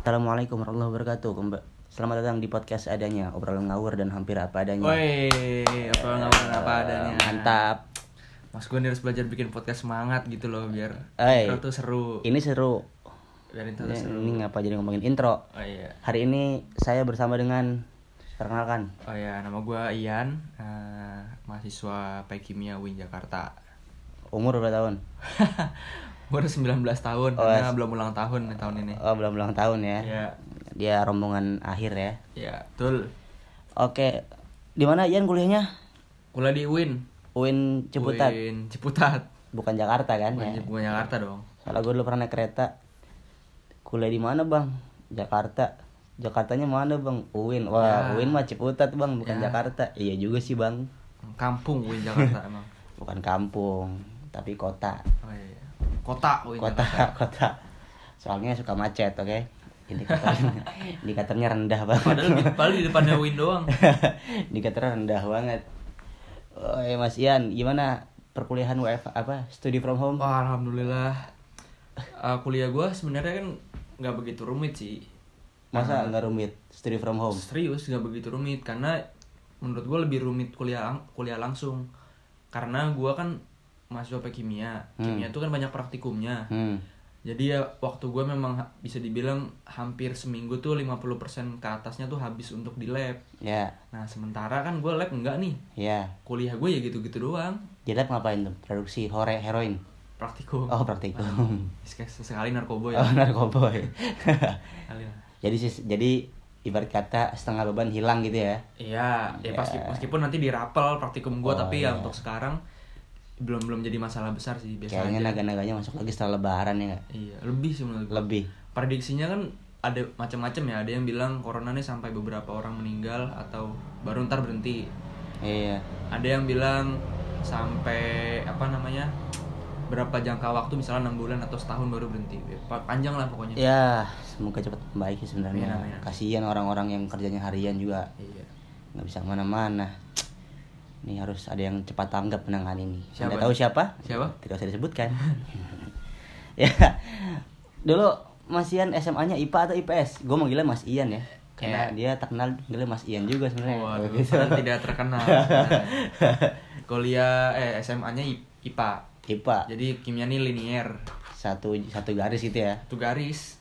Assalamualaikum warahmatullahi wabarakatuh. Kemba- Selamat datang di podcast adanya obrolan ngawur dan hampir apa adanya. Woi, apa ngomong apa adanya. Eh, Mantap. Mas gue harus belajar bikin podcast semangat gitu loh biar Oi. Iya. intro tuh seru. Ini seru. Biar intro tuh Ini, seru. ini ngapa jadi ngomongin intro? Oh iya. Hari ini saya bersama dengan perkenalkan. Oh iya, nama gue Ian, eh, mahasiswa Kimia UIN Jakarta. Umur berapa tahun? gue udah 19 tahun Oh, as- karena belum ulang tahun nih tahun ini. Oh, belum ulang tahun ya. Iya, Dia rombongan akhir ya. iya, betul. Oke. Di mana Ian kuliahnya? Kuliah di UIN. UIN Ciputat, UIN Ciputat. bukan Jakarta kan ya? Bukan, bukan Jakarta dong. Soalnya gue dulu pernah naik kereta Kuliah di mana bang? Jakarta Jakartanya mana bang? Uin Wah Ya. Uin mah Ciputat bang Bukan Ya. Jakarta Iya juga sih bang Kampung UIN Jakarta emang. Bukan kampung Tapi kota Oh iya. Ya, Kota UIN Kota Jakarta. Kota Soalnya suka macet oke Indikatornya, indikatornya rendah banget Padahal di, padahal di depannya UIN doang. Indikatornya rendah banget Oh Mas Ian Gimana perkuliahan WF apa studi from home Wah, Oh, alhamdulillah. Eh, kuliah gua sebenarnya kan nggak begitu rumit sih. masa nggak rumit studi from home Serius nggak begitu rumit karena menurut gua lebih rumit kuliah lang- kuliah langsung. Karena gua kan mahasiswa pe kimia. Kimia tuh kan banyak praktikumnya. hmm. Jadi ya waktu gua memang ha- bisa dibilang hampir seminggu tuh 50% ke atasnya tuh habis untuk di lab. ya Nah, sementara kan gua lab enggak nih. ya Kuliah gue ya gitu-gitu doang. Di lab ngapain tuh? Produksi hore heroin. Praktikum. Oh, praktikum. Sekali narkoba ya. Oh, narkoboy. Sekali lah. jadi sis- jadi ibarat kata setengah beban hilang gitu ya. Iya, ya pas meskipun nanti dirapel praktikum gue Oh, tapi ya iya. untuk sekarang belum belum jadi masalah besar sih biasa Kayaknya aja. naga-naganya masuk lagi setelah lebaran ya nggak? Iya, lebih sih menurut gue. Lebih. Prediksinya kan ada macam-macam ya, ada yang bilang corona nih sampai beberapa orang meninggal atau baru ntar berhenti. Iya. Ada yang bilang sampai apa namanya? berapa jangka waktu misalnya enam bulan atau setahun baru berhenti. Pa- Panjang lah pokoknya. Ya, semoga cepat membaik sih sebenarnya. Amin, amin. Kasihan orang-orang yang kerjanya harian juga Iya. nggak bisa mana-mana. Ini harus ada yang cepat tanggap menangani ini. Siapa? Anda tahu siapa? Siapa? Tidak usah disebutkan. ya. Dulu Mas Ian SMA-nya IPA atau IPS? Gue manggilnya Mas Ian ya. Karena dia tak kenal manggilnya Mas Ian juga sebenarnya. Iya. Waduh, Gitu. padahal tidak terkenal. sebenarnya. Kuliah eh SMA-nya IPA. IPA Jadi kimia ini linier, satu satu garis gitu ya. satu garis.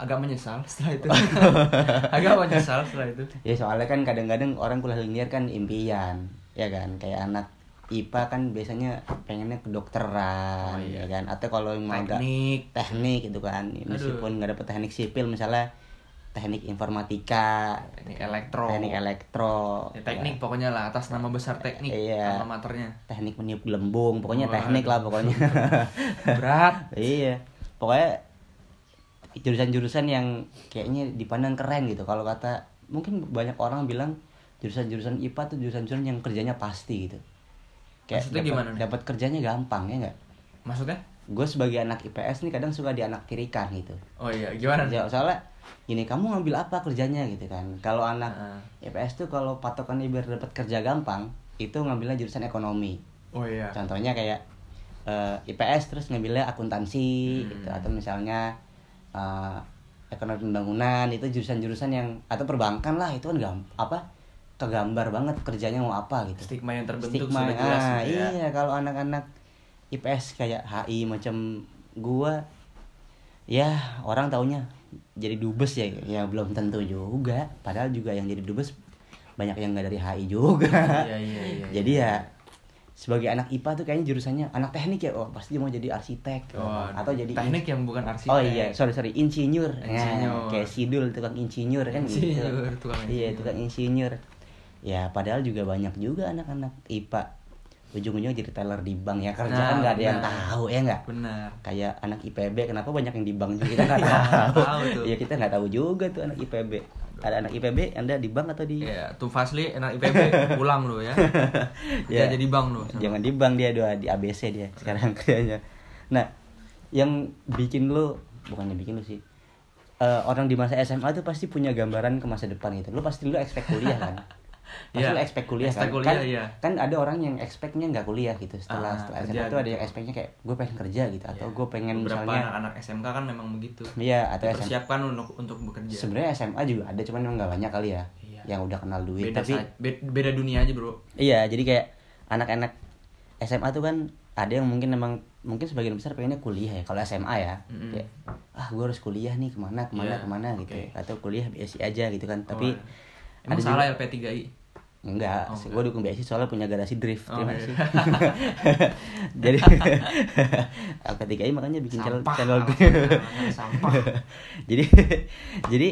Agak menyesal setelah itu. Agak menyesal setelah itu. Ya soalnya kan kadang-kadang orang kuliah linier kan impian, ya kan? Kayak anak IPA kan biasanya pengennya kedokteran, Oh, iya. ya kan? Atau kalau yang agak Teknik. teknik gitu kan meskipun nggak dapet teknik sipil misalnya teknik informatika Teknik elektro. teknik elektro Ya, teknik pokoknya lah atas nama besar teknik Iya. sama maternya. teknik meniup gelembung pokoknya Waduh. teknik lah pokoknya Berat. iya pokoknya jurusan-jurusan yang kayaknya dipandang keren gitu kalau kata mungkin banyak orang bilang jurusan-jurusan IPA tuh jurusan-jurusan yang kerjanya pasti gitu Maksudnya dapat- gimana nih? dapat kerjanya gampang ya nggak Maksudnya? gue sebagai anak IPS nih kadang suka dianaktirikan gitu Oh iya, gimana? Ya, soalnya gini kamu ngambil apa kerjanya gitu kan. Kalau anak Heeh. IPS tuh kalau patokannya biar dapat kerja gampang itu ngambilnya jurusan ekonomi. Oh iya. Contohnya kayak eh, IPS terus ngambilnya akuntansi gitu atau misalnya eh, ekonomi pembangunan itu jurusan-jurusan yang atau perbankan lah itu kan gam- apa kegambar banget kerjanya mau apa gitu Stigma yang terbentuk stigma sudah jelas ah, gitu ya. iya kalau anak-anak IPS kayak HI macam gua ya orang taunya jadi dubes ya ya belum tentu juga padahal juga yang jadi dubes banyak yang nggak dari HI juga Iya, iya, iya, jadi ya sebagai anak IPA tuh kayaknya jurusannya anak teknik ya oh pasti dia mau jadi arsitek Waduh, atau jadi teknik yang bukan arsitek. Oh iya, sorry sorry, insinyur. Nah, Insinyur. kayak sidul tukang insinyur kan gitu. Insinyur, tukang Iya, insinyur. tukang insinyur. Ya, padahal juga banyak juga anak-anak IPA. Ujung-ujungnya jadi teller di bank ya kerja kan Nah, nggak ada yang nah. tahu ya nggak? Benar. Kayak anak IPB kenapa banyak yang di bank juga kita nggak Iya, nggak tahu. tahu tuh. Iya kita nggak tahu juga tuh anak IPB. Ada anak IPB Anda di bank atau di? Iya, tuh Fasli anak IPB pulang lo ya. Ya. Kerja jadi bank lo. Jangan di bank dia doa di ABC dia sekarang kerjanya. Nah, yang bikin lu bukannya bikin lu sih. eh, orang di masa SMA tuh pasti punya gambaran ke masa depan gitu. Lu pasti lu expect kuliah kan. Pasti lu Iya. expect kuliah kan. Expect kuliah, kan, iya. kan ada orang yang expectnya nggak kuliah gitu setelah Ah, setelah kerja SMA tuh ada gitu. yang expectnya kayak gue pengen kerja gitu atau Iya. gue pengen Beberapa misalnya anak-anak SMK kan memang begitu. iya atau SMA Dipersiapkan untuk untuk bekerja. sebenarnya SMA juga ada cuman emang nggak banyak kali ya Iya. yang udah kenal duit Beda tapi sa- be- beda dunia aja, Bro. Iya, jadi kayak anak-anak SMA tuh kan ada yang mungkin emang mungkin sebagian besar pengennya kuliah ya. Kalau SMA ya, Mm-mm. kayak ah gue harus kuliah nih kemana kemana Iya, kemana gitu, oke. atau kuliah BSI aja gitu kan. Tapi Oh, emang ada salah LP3I. enggak, Oh, gue dukung BSI soalnya punya garasi drift. Oh, Terima iya. kasih. jadi ketiga ini makanya bikin channel, Sampah, channel alasan-alasan sampah. jadi jadi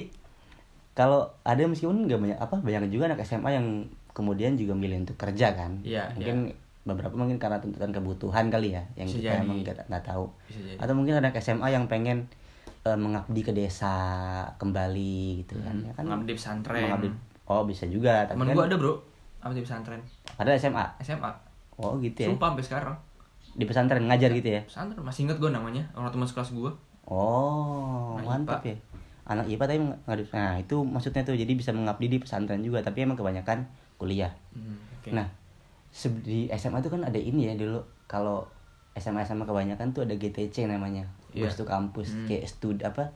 kalau ada meskipun nggak banyak apa banyak juga anak SMA yang kemudian juga milih untuk kerja kan Iya, mungkin beberapa mungkin karena tuntutan kebutuhan kali ya yang Bisa kita jadi. Iya. emang nggak nggak tahu Bisa jadi. atau mungkin anak SMA yang pengen eh, mengabdi ke desa kembali gitu kan ya kan Hmm, Mengabdi pesantren. mengabdi- oh bisa juga tapi Temen kan gua ada, Bro. Abdi pesantren. ada SMA SMA. oh gitu ya Sumpah sampai sekarang. di pesantren ngajar gitu ya Pesantren masih inget gua namanya, orang teman sekelas gua. Oh, Anak mantap ya. Anak IPA tapi meng- ngadu. Nah, itu maksudnya tuh jadi bisa mengabdi di pesantren juga, tapi emang kebanyakan kuliah. Hmm, oke. Nah, se- di SMA tuh kan ada ini ya dulu kalau SMA SMA kebanyakan tuh ada GTC namanya. Iya. Gustu kampus Hmm. kayak stud apa?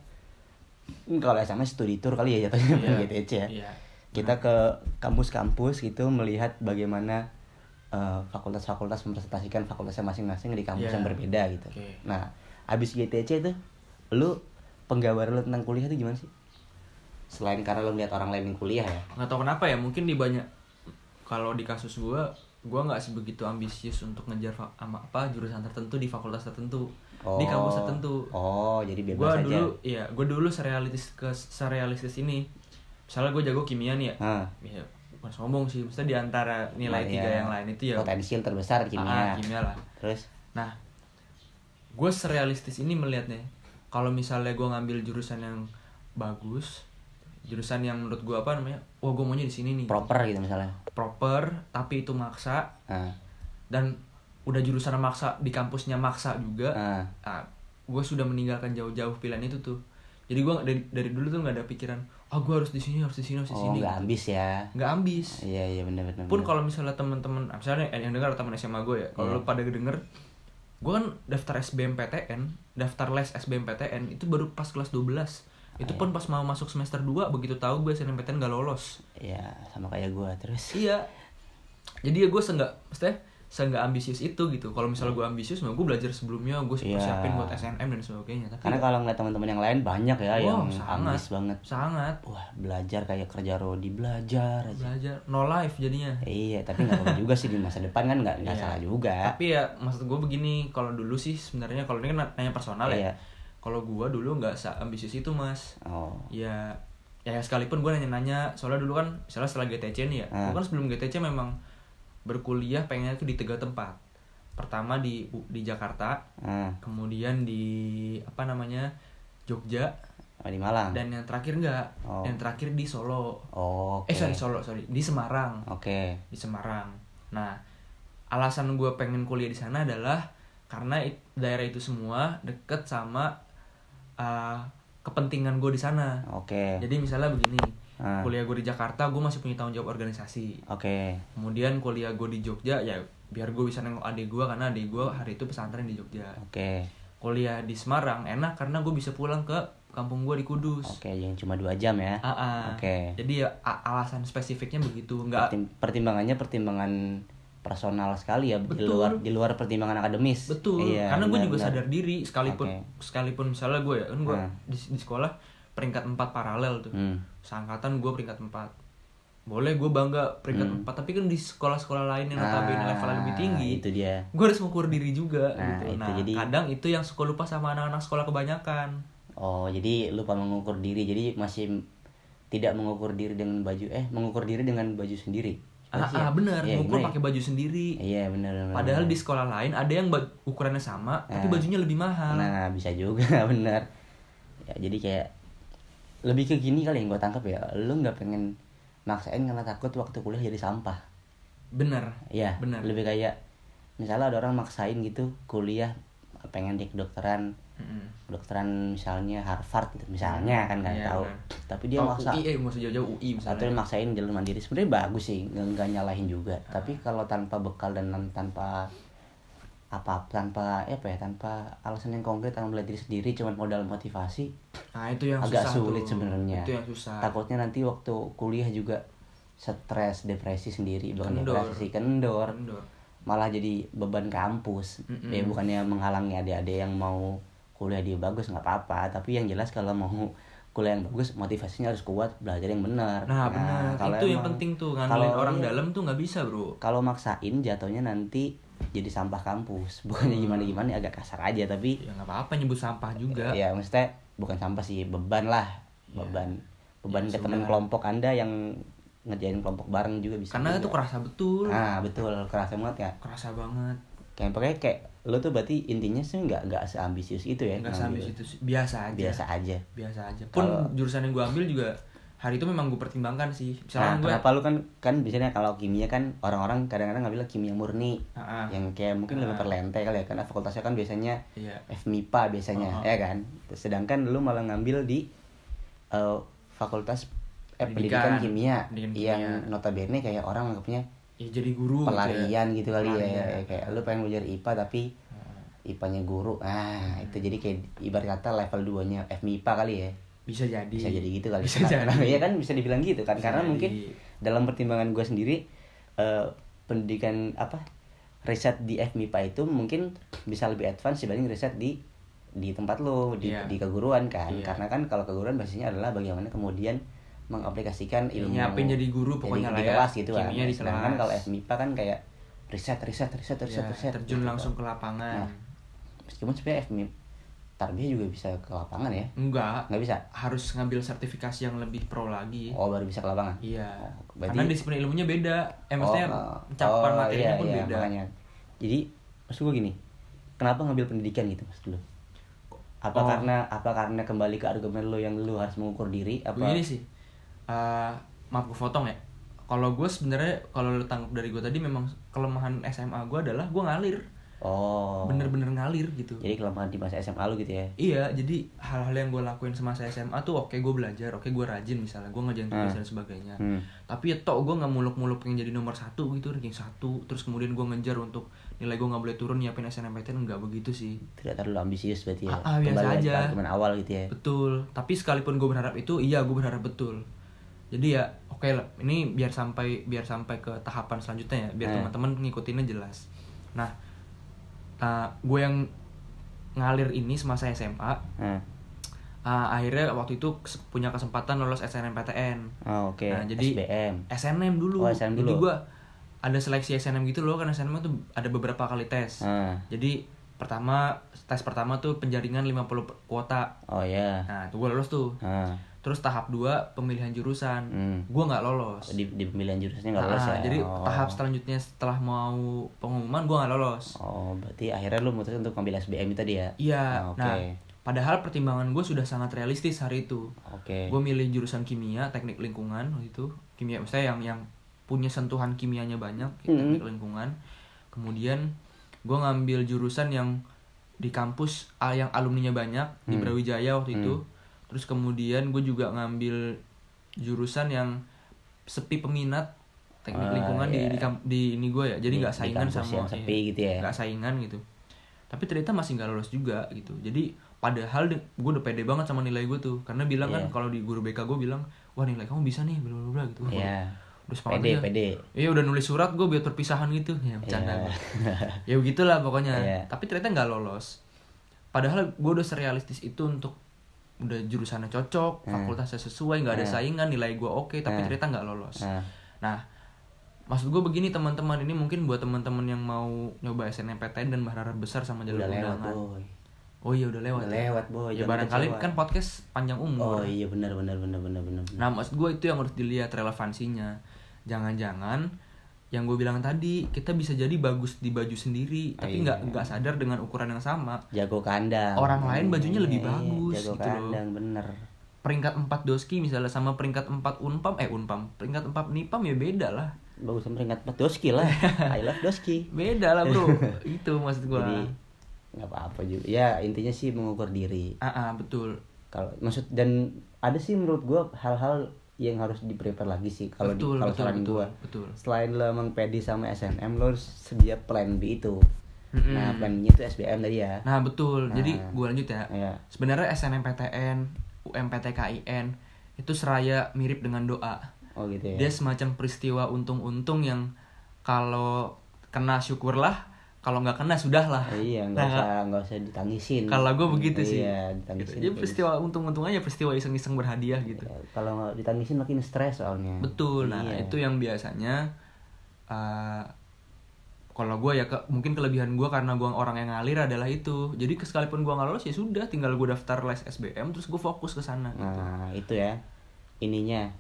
Hmm, Kalau SMA studi tour kali ya jatuhnya Iya. GTC ya. Iya. Kita ke kampus-kampus gitu melihat bagaimana eh, fakultas-fakultas mempresentasikan fakultasnya masing-masing di kampus Iya. yang berbeda gitu. Oke. Nah, abis GTC tuh, lu penggambaran lu tentang kuliah tuh gimana sih? Selain karena lu melihat orang lain yang kuliah ya. nggak tahu kenapa ya mungkin di banyak kalau di kasus gua gua nggak sebegitu ambisius untuk ngejar fa- ama- apa jurusan tertentu di fakultas tertentu di kampus tertentu Oh, jadi bebas gua aja. dulu iya gua dulu serealistis ke serealistis ini misalnya gua jago kimia nih ya, Hah. ya bukan sombong sih maksudnya di antara nilai Nah, tiga iya. yang lain itu ya Potensi yang terbesar ah, kimia. kimia lah Terus Nah, gue serealistis ini melihatnya. Kalau misalnya gue ngambil jurusan yang bagus, jurusan yang menurut gue apa namanya, wah gue maunya di sini nih, proper gitu misalnya. proper, tapi itu maksa Ah, dan udah jurusan maksa di kampusnya maksa juga. ah. Nah, gue sudah meninggalkan jauh-jauh pilihan itu tuh. Jadi gue dari, dari dulu tuh nggak ada pikiran, ah gue harus di sini, harus di sini, harus di Oh, sini. nggak ambis ya. Nggak ambis. Iya, iya benar benar. pun benar. kalau misalnya teman-teman ah, misalnya yang dengar teman SMA gue ya kalau Iya. lu pada denger gue kan daftar SBMPTN daftar les SBMPTN itu baru pas kelas 12 itu pun pas mau masuk semester 2 begitu tahu gue SNMPTN gak lolos Iya, sama kayak gua terus. iya jadi ya gue seenggak maksudnya seenggak ambisius itu gitu kalau misalnya gue ambisius gue belajar sebelumnya gue Iya. persiapin buat SNM dan sebagainya tapi Karena kalau nggak teman-teman yang lain banyak ya Wah, yang sangat. ambis banget. sangat Wah, belajar kayak kerja Rodi belajar aja. belajar no life jadinya Iya, tapi nggak apa juga sih di masa depan kan nggak nggak Iya. salah juga. tapi ya maksud gue begini kalau dulu sih sebenarnya kalau ini kan nanya personal Iya. ya kalau gue dulu nggak seambisius itu mas Oh, ya ya sekalipun gue nanya-nanya soalnya dulu kan misalnya setelah GTC nih ya Ah. gue kan sebelum GTC memang berkuliah pengennya tuh di tiga tempat pertama di di Jakarta ah, kemudian di apa namanya Jogja apa di Malang. dan yang terakhir enggak Ah. Oh. yang terakhir di Solo Oh, oke. eh sorry Solo sorry di Semarang Oke. di Semarang. Nah, alasan gue pengen kuliah di sana adalah karena it- daerah itu semua deket sama uh, kepentingan gue di sana. Oke. Jadi misalnya begini, Ah. kuliah gue di Jakarta gue masih punya tanggung jawab organisasi. Oke. Kemudian kuliah gue di Jogja ya biar gue bisa nengok adik gue karena adik gue hari itu pesantren di Jogja. Oke. Kuliah di Semarang enak karena gue bisa pulang ke kampung gue di Kudus. Oke, yang cuma dua jam ya. Ah, ah. Oke. Jadi ya a- alasan spesifiknya begitu, nggak Pertim- pertimbangannya pertimbangan personal sekali ya di Betul. luar di luar pertimbangan akademis. Betul, Iya, karena gue benar, juga benar. sadar diri sekalipun Oke. sekalipun misalnya gue ya kan gue Hmm. di, di sekolah peringkat 4 paralel tuh. Hmm. Seangkatan gue peringkat 4. Boleh gue bangga peringkat 4, tapi kan di sekolah-sekolah lain yang Hmm. notabene Ah, levelnya lebih tinggi, Itu dia. gue harus mengukur diri juga Nah, gitu. itu Nah, jadi- kadang itu yang suka lupa sama anak-anak sekolah kebanyakan. Oh, jadi lupa mengukur diri. Jadi masih m- tidak mengukur diri dengan baju eh mengukur diri dengan baju sendiri. Gimana Ah, sih ya? ah, bener, Iya, ngukur gimana ya? pakai baju sendiri. Iya, benar. benar, Padahal benar. di sekolah lain ada yang ba- ukurannya sama, Ah. tapi bajunya lebih mahal. Nah, bisa juga benar. Ya, jadi kayak lebih ke gini kali yang gue tangkap ya. Lu nggak pengen maksain karena takut waktu kuliah jadi sampah. Bener. Iya, Benar. Lebih kayak misalnya ada orang maksain gitu kuliah pengen di kedokteran Mm-mm. kedokteran misalnya Harvard gitu misalnya kan nggak Iya, tahu benar. tapi dia Oh, maksa UI, eh, nggak usah jauh-jauh UI atau misalnya. maksain jalur mandiri sebenarnya bagus sih nggak nggak nyalahin juga tapi kalau tanpa bekal dan nan- tanpa apa tanpa apa ya tanpa alasan yang konkret tanpa belajar sendiri cuma modal motivasi Nah, itu yang agak susah sulit tuh. sebenarnya Itu yang susah. takutnya nanti waktu kuliah juga stres depresi sendiri bukan Kendor. depresi kendor Kendor. malah jadi beban kampus Mm-mm. ya bukannya menghalangi adik-adik yang mau kuliah dia bagus nggak apa-apa tapi yang jelas kalau mau kuliah yang bagus motivasinya harus kuat belajar yang benar Nah, benar. kalau itu yang emang- penting tuh kalau ngandelin orang iya, dalam tuh nggak bisa, Bro. kalau maksain jatuhnya nanti jadi sampah kampus bukannya Hmm. gimana gimana ya agak kasar aja tapi Ya nggak apa-apa nyebut sampah juga. ya maksudnya bukan sampah sih beban lah beban beban Iya. Ya, ke teman sudah. kelompok anda yang ngerjain kelompok bareng juga bisa Karena juga. itu kerasa betul. nah betul kerasa banget ya Kerasa banget. kayak pokoknya kayak lo tuh berarti intinya sih nggak nggak seambisius itu ya Enggak ngambil. sampai situ sih. biasa aja. biasa aja Biasa aja. Pun Kalau- jurusan yang gue ambil juga hari itu memang gue pertimbangkan sih. nah Misalnya gue kenapa lu kan kan biasanya kalau kimia kan orang-orang kadang-kadang ngambil kimia murni Ah, ah. yang kayak mungkin lebih Ah. perlente kali ya karena fakultasnya kan biasanya Iya. FMIPA biasanya Oh, oh. ya kan sedangkan lu malah ngambil di eh, fakultas eh, pendidikan, Pendidikan. kimia Pendidikan kimia. yang notabene kayak orang anggapnya Ya, jadi guru pelarian gitu kali ya. ya, Pelarian. kayak lu pengen belajar IPA tapi Ah. IPA-nya guru ah itu jadi kayak ibarat kata level 2 nya FMIPA kali ya Bisa jadi. bisa jadi gitu kali Iya. Bisa Karena- jadi. ya kan bisa dibilang gitu kan Bisa karena jadi. mungkin dalam pertimbangan gue sendiri eh, pendidikan apa riset di FMIPA itu mungkin bisa lebih advance dibanding riset di di tempat lo di, Iya. di keguruan kan Iya. karena kan kalau keguruan basisnya adalah bagaimana kemudian mengaplikasikan Iya, ilmu nyiapin jadi guru di, pokoknya lah di ya. kelas gitu kan Kimia di sedangkan kelas. kalau FMIPA kan kayak riset riset riset riset Ya, riset terjun gitu. langsung ke lapangan. Nah. meskipun sebenarnya FMIP tarbiyah juga bisa ke lapangan ya Enggak, nggak bisa harus ngambil sertifikasi yang lebih pro lagi. oh baru bisa ke lapangan Iya. Oh, berarti- Karena disiplin ilmunya beda. Eh maksudnya oh, cakupan oh, materinya iya, pun iya, beda. makanya. Jadi maksud gue gini, kenapa ngambil pendidikan gitu maksud lu? Apa Oh. karena apa karena kembali ke argumen lu yang lu harus mengukur diri apa? Begini sih. eh, maaf gue potong ya. Kalau gue sebenarnya kalau lo tangkap dari gue tadi memang kelemahan SMA gue adalah gue ngalir. Oh. Bener-bener ngalir gitu. Jadi kelemahan di masa SMA lu gitu ya. Iya, jadi hal-hal yang gue lakuin semasa SMA tuh oke gue belajar, oke gue rajin misalnya, gue ngerjain tugas dan sebagainya. Hmm. Tapi ya tok gue nggak muluk-muluk pengen jadi nomor satu gitu, ranking satu. Terus kemudian gue ngejar untuk nilai gue nggak boleh turun nyiapin SNMPTN nggak begitu sih. Tidak terlalu ambisius berarti ya. Ah, ah, biasa kembali lagi aja. ke argumen awal gitu ya. Betul. Tapi sekalipun gue berharap itu, iya gue berharap betul. Jadi ya oke lah. Ini biar sampai biar sampai ke tahapan selanjutnya ya. Biar Hmm. teman-teman ngikutinnya jelas. Nah, uh, gue yang ngalir ini semasa SMA. Nah. uh, akhirnya waktu itu kes- punya kesempatan lolos SNMPTN. Oh, oke. Nah, jadi- SBM. SNM dulu. Oh, SNM Jadi dulu. gue ada seleksi SNM gitu loh. Karena SNM tuh ada beberapa kali tes. Ah. Jadi pertama tes pertama tuh penjaringan 50 per- kuota. Oh ya. Nah, tuh gue lolos tuh. Ah. Terus tahap 2 pemilihan jurusan. Hmm. Gue nggak lolos. Di, di pemilihan jurusannya nggak lolos Nah, ya. Jadi oh. tahap selanjutnya setelah mau pengumuman gue nggak lolos. Oh, berarti akhirnya lu mutusin untuk ngambil SBM itu tadi ya? Iya. Oh, Oke. Nah, padahal pertimbangan gue sudah sangat realistis hari itu. Oke. Gue milih jurusan kimia, teknik lingkungan waktu itu. Kimia maksudnya yang yang punya sentuhan kimianya banyak, gitu, teknik lingkungan. Kemudian gue ngambil jurusan yang di kampus ah, yang alumninya banyak di Brawijaya waktu itu. Mm. Terus kemudian gue juga ngambil jurusan yang sepi peminat Ah, teknik lingkungan di- iya. di, kamp- di ini gue ya. Jadi Di- nggak di saingan kampus sama yang sepi iya, gitu ya. nggak saingan gitu. Tapi ternyata masih nggak lolos juga gitu. Jadi padahal gue udah pede banget sama nilai gue tuh karena bilang Iya. kan kalau di guru BK gue bilang wah nilai kamu bisa nih bla bla bla gitu. Wah, Iya. Udah semangat Pede, dia. pede. Iya udah nulis surat gue biar perpisahan gitu ya bercanda gua. ya begitulah pokoknya Iya. tapi ternyata nggak lolos padahal gue udah serealistis itu untuk udah jurusannya cocok Iya. fakultasnya sesuai nggak ada saingan nilai gue oke tapi ternyata nggak lolos Nah. nah maksud gue begini teman-teman ini mungkin buat teman-teman yang mau nyoba SNMPTN dan berharap besar sama jalur Udah lewat, undangan boy. oh iya udah lewat Udah ya? lewat, boy. ya Jangan barangkali kecewa. kan podcast panjang Oh umur iya benar benar benar benar benar. benar. Nah, maksud gue itu yang harus dilihat relevansinya. Jangan-jangan yang gue bilang tadi kita bisa jadi bagus di baju sendiri, tapi Iya. nggak nggak sadar dengan ukuran yang sama. Jago kandang. Orang lain bajunya lebih Iya, bagus Jago gitu loh. kandang bener. Peringkat 4 doski misalnya sama peringkat 4 unpam eh unpam, peringkat 4 nipam ya beda lah. Bagus peringkat empat doski lah. I love doski. Beda lah, Bro. itu maksud gue. Jadi nggak apa-apa juga ya intinya sih mengukur diri ah ah, betul kalau maksud dan ada sih menurut gua hal-hal yang harus di prepare lagi sih kalau di betul kalau betul saran betul, gua betul. selain lo emang pedi sama SNM lo harus sedia plan B itu Mm-mm. nah plan B itu SBM tadi ya nah betul jadi Nah. gue lanjut ya Iya. sebenarnya SNMPTN UMPTKIN itu seraya mirip dengan doa oh gitu ya dia semacam peristiwa untung-untung yang kalau kena syukurlah kalau nggak kena sudahlah iya nggak Nah, usah nggak usah ditangisin kalau gue begitu sih iya gitu. ditangisin jadi bagus. peristiwa untung-untung aja peristiwa iseng-iseng berhadiah gitu Ya, kalau nggak ditangisin makin stres soalnya betul nah Iya. itu yang biasanya eh, kalau gue ya ke- mungkin kelebihan gue karena gue orang yang ngalir adalah itu jadi ke- sekalipun gue nggak lolos ya sudah tinggal gue daftar les SBM terus gue fokus ke sana gitu. nah itu ya ininya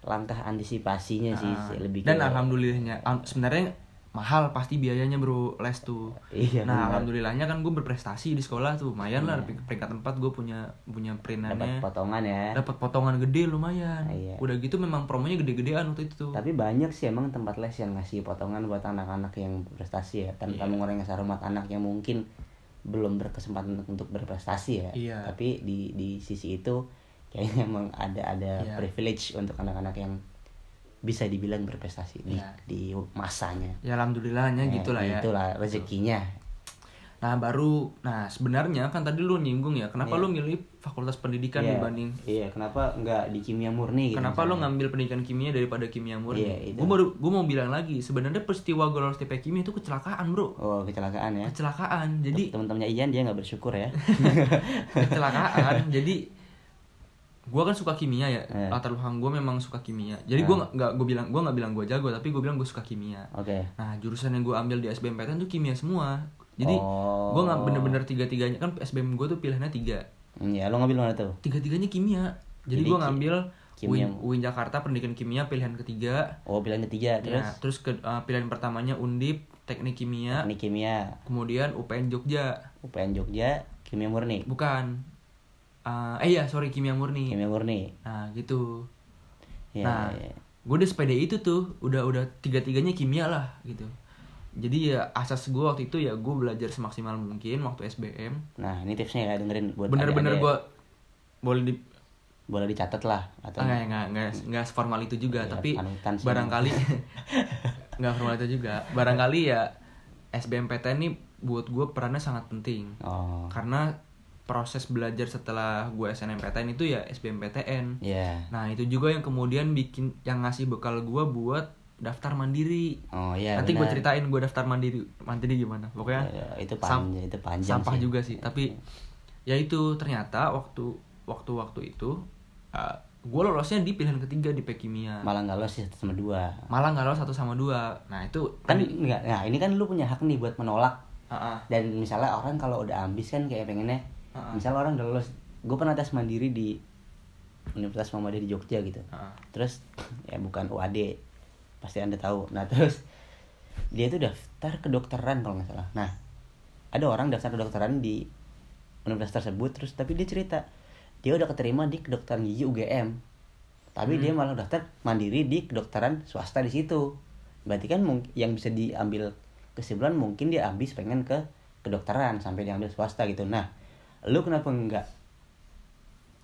langkah antisipasinya iya sih Nah, sih, lebih dan ke- alhamdulillahnya al- sebenarnya mahal pasti biayanya bro les tuh Iya, nah benar. Iya. alhamdulillahnya kan gue berprestasi di sekolah tuh lumayan lah pering- peringkat empat gue punya punya dapat perintannya potongan ya dapat potongan gede lumayan Ah, iya. udah gitu memang promonya gede-gedean waktu itu tuh tapi banyak sih emang tempat les yang ngasih potongan buat anak-anak yang berprestasi ya Iya. tanpa mengurangi rasa hormat anak yang mungkin belum berkesempatan untuk berprestasi ya Iya. tapi di di sisi itu kayaknya emang ada ada Iya. privilege untuk anak-anak yang bisa dibilang berprestasi di, Iya. di masanya ya alhamdulillahnya Ya, gitu lah ya itulah rezekinya nah baru nah sebenarnya kan tadi lu nyinggung ya Iya. kenapa lu milih fakultas Iya. pendidikan Kan dibanding iya kenapa nggak di kimia murni gitu Kenapa lo misalnya? ngambil pendidikan kimia daripada kimia murni? Iya, itu. gue baru gue mau bilang lagi, sebenarnya peristiwa gue lolos TP kimia itu kecelakaan bro, oh kecelakaan ya kecelakaan. Jadi teman-temannya Ian dia nggak bersyukur ya kecelakaan jadi gue kan suka kimia ya Eh. latar belakang gue memang suka kimia jadi gue nggak gue bilang gue nggak bilang gue jago tapi gue bilang gue suka kimia oke nah jurusan yang gue ambil di SBMPTN kan tuh kimia semua jadi Oh. gue nggak bener-bener tiga tiganya kan SBM gue tuh pilihannya tiga Hmm, ya lo ngambil mana tuh tiga tiganya kimia jadi, Jadi gue ki- ngambil kimia. UIN, UIN Jakarta pendidikan kimia pilihan ketiga oh pilihan ketiga terus Nah, terus ke, eh, pilihan pertamanya Undip teknik kimia Teknik kimia, kemudian UPN Jogja UPN Jogja, kimia murni. bukan Eh, eh iya sorry kimia murni Kimia murni. Nah gitu. Ya, nah, ya. gue udah sepeda itu tuh, udah udah tiga tiganya kimia lah gitu. Jadi ya asas gue waktu itu ya gue belajar semaksimal mungkin waktu SBM. Nah, ini tipsnya ya dengerin buat ya? Bener-bener adik-adik. gue boleh di boleh dicatat lah atau Ah, nggak nggak nggak nggak seformal itu juga Iya, tapi panutan sih. barangkali nggak formal itu juga barangkali ya SBMPTN ini buat gue perannya sangat penting Oh. karena proses belajar setelah gue SNMPTN itu ya SBMPTN Ya. Nah itu juga yang kemudian bikin yang ngasih bekal gua buat daftar mandiri. Oh iya. Nanti gue benar. ceritain gue daftar mandiri mandiri gimana. Pokoknya Ya, ya, itu ya. sam- panjang, itu panjang sampah sih. juga sih. Tapi ya itu ternyata waktu waktu waktu itu uh, gue lolosnya di pilihan ketiga di pekimia. Malah nggak lolos sih satu sama dua. Malah nggak lolos satu sama dua. Nah itu Kan enggak. Nah, ini kan lu punya hak nih buat menolak. Ah, ah. Dan misalnya orang kalau udah ambis kan kayak pengennya Ah, ah. misalnya orang udah lulus, gue pernah tes mandiri di Universitas Muhammadiyah di Jogja gitu. Ah. Terus ya bukan UAD, pasti anda tahu. Nah terus dia itu daftar kedokteran kalau nggak salah. Nah ada orang daftar kedokteran di universitas tersebut, terus tapi dia cerita dia udah keterima di kedokteran gigi UGM, tapi dia malah daftar mandiri di kedokteran swasta di situ. Berarti kan mung- yang bisa diambil kesimpulan mungkin dia habis pengen ke kedokteran sampai diambil swasta gitu. Nah lu kenapa nggak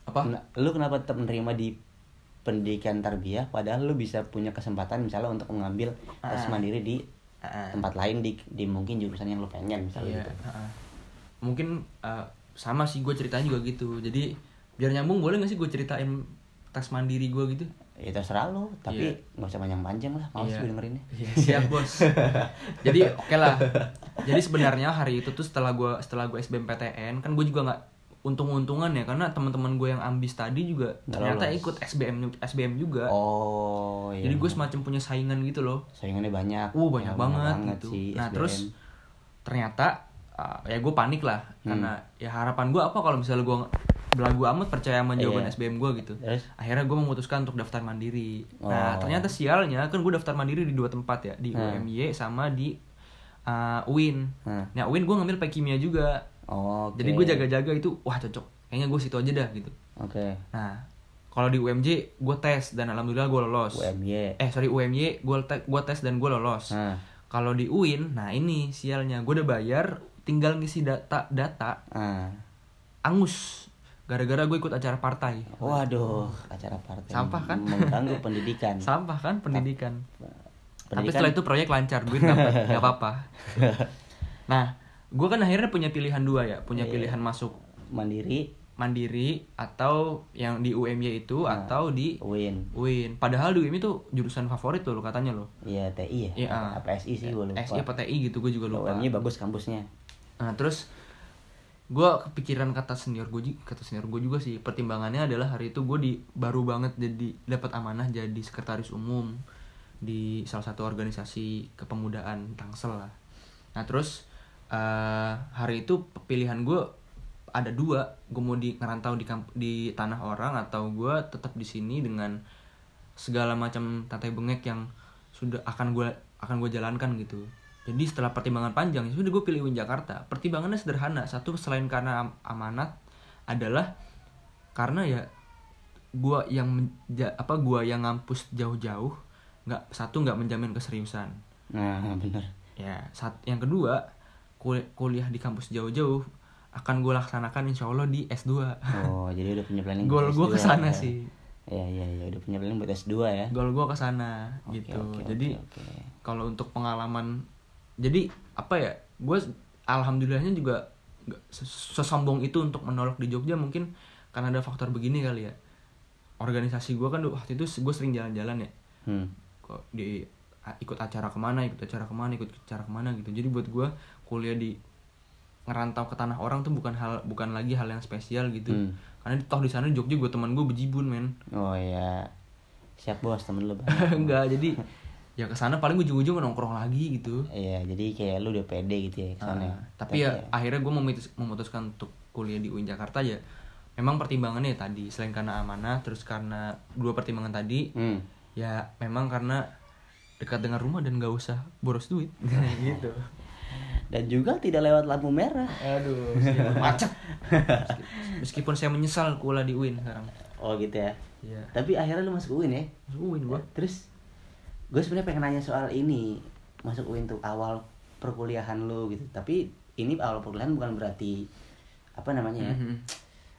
apa? Nah, lu kenapa tetap menerima di pendidikan tarbiyah padahal lu bisa punya kesempatan misalnya untuk mengambil tes Ah. mandiri di Ah, ah. tempat lain di, di mungkin jurusan yang lu pengen misalnya Iya, gitu. heeh. Mungkin eh, sama sih gue ceritanya juga gitu. Jadi biar nyambung boleh gak sih gue ceritain tes mandiri gue gitu? Ya terserah lu, tapi nggak usah panjang-panjang lah, males ya. Iya. gue dengerinnya. Iya, siap bos. Jadi oke lah. Jadi sebenarnya hari itu tuh setelah gua setelah gue SBMPTN kan gue juga nggak untung-untungan ya karena teman-teman gue yang ambis tadi juga Nggak ternyata lolos. ikut SBM ju- SBM juga. Oh, iya. Jadi gue semacam punya saingan gitu loh. saingannya banyak. Uh banyak Ya, banget, gitu. sih, nah SBM. terus ternyata uh, ya gue panik lah Hmm. karena ya harapan gue apa kalau misalnya gue belagu amat percaya sama jawaban Iya. SBM gue gitu. Terus? Akhirnya gue memutuskan untuk daftar mandiri. Oh. Nah ternyata sialnya kan gue daftar mandiri di dua tempat ya di Hmm. UMY sama di uh, UIN. Hmm. Nah UIN gue ngambil kimia juga. Oh, Jadi gue jaga-jaga itu wah cocok. Kayaknya gue situ aja dah gitu. Oke. Nah kalau di UMJ gue tes dan alhamdulillah gue lolos UMY. eh sorry UMY gue tes dan gue lolos Nah. kalau di UIN nah ini sialnya gue udah bayar tinggal ngisi data data Ah. angus gara-gara gue ikut acara partai Waduh, acara partai Sampah kan? mengganggu pendidikan. sampah kan pendidikan tapi Pendidikan- setelah itu proyek lancar duit dapat nggak apa-apa nah gue kan akhirnya punya pilihan dua ya punya pilihan masuk mandiri mandiri atau yang di UMY itu atau di win. UIN padahal di UIN itu jurusan favorit tuh lo katanya lo Iya, TI ya. Iya. Apa SI sih gue lupa. SI apa TI gitu gue juga lupa UM-nya bagus kampusnya. Nah terus gue kepikiran kata senior gue kata senior gue juga sih pertimbangannya adalah hari itu gue di baru banget jadi dapat amanah jadi sekretaris umum di salah satu organisasi kepemudaan Tangsel lah. Nah terus eh, hari itu pilihan gue ada dua gue mau di ngerantau di kamp- di tanah orang atau gue tetap di sini dengan segala macam tatai bengek yang sudah akan gue akan gue jalankan gitu jadi setelah pertimbangan panjang ya sudah gue pilih UIN Jakarta pertimbangannya sederhana satu selain karena am- amanat adalah karena ya gue yang menja- apa gua yang ngampus jauh-jauh nggak satu nggak menjamin keseriusan Nah, bener. ya saat yang kedua kul- kuliah di kampus jauh-jauh akan gue laksanakan insya Allah di S2 Oh, jadi udah punya planning. Goal buat S2 gue kesana ya. sih Iya, iya, iya, udah punya planning buat S2 ya. goal gue kesana Oke, gitu oke, oke, jadi oke. kalau untuk pengalaman jadi apa ya gue alhamdulillahnya juga nggak ses- sesombong itu untuk menolak di Jogja mungkin karena ada faktor begini kali ya organisasi gue kan du- waktu itu gue sering jalan-jalan ya Hmm. kok di a- ikut acara kemana ikut acara kemana ikut acara kemana gitu jadi buat gue kuliah di ngerantau ke tanah orang tuh bukan hal bukan lagi hal yang spesial gitu Hmm. karena toh di sana di Jogja gue teman gue bejibun men Oh ya. Siap bos, temen lu. banyak. enggak jadi ya kesana paling ujung-ujung nongkrong lagi gitu Iya, jadi kayak lu udah pede gitu ya kesana. Ah, tapi ya akhirnya gue memutuskan untuk kuliah di UIN Jakarta ya memang pertimbangannya ya tadi selain karena amanah terus karena dua pertimbangan tadi Hmm. ya memang karena dekat dengan rumah dan gak usah boros duit gitu Dan juga tidak lewat lampu merah. aduh meskipun macet meskipun saya menyesal kuliah di UIN sekarang Oh gitu ya. Iya. Tapi akhirnya lu masuk UIN ya. Masuk UIN gue Terus gue sebenarnya pengen nanya soal ini masuk UIN tuh awal perkuliahan lu gitu. Tapi ini awal perkuliahan bukan berarti apa namanya ya? Mhm.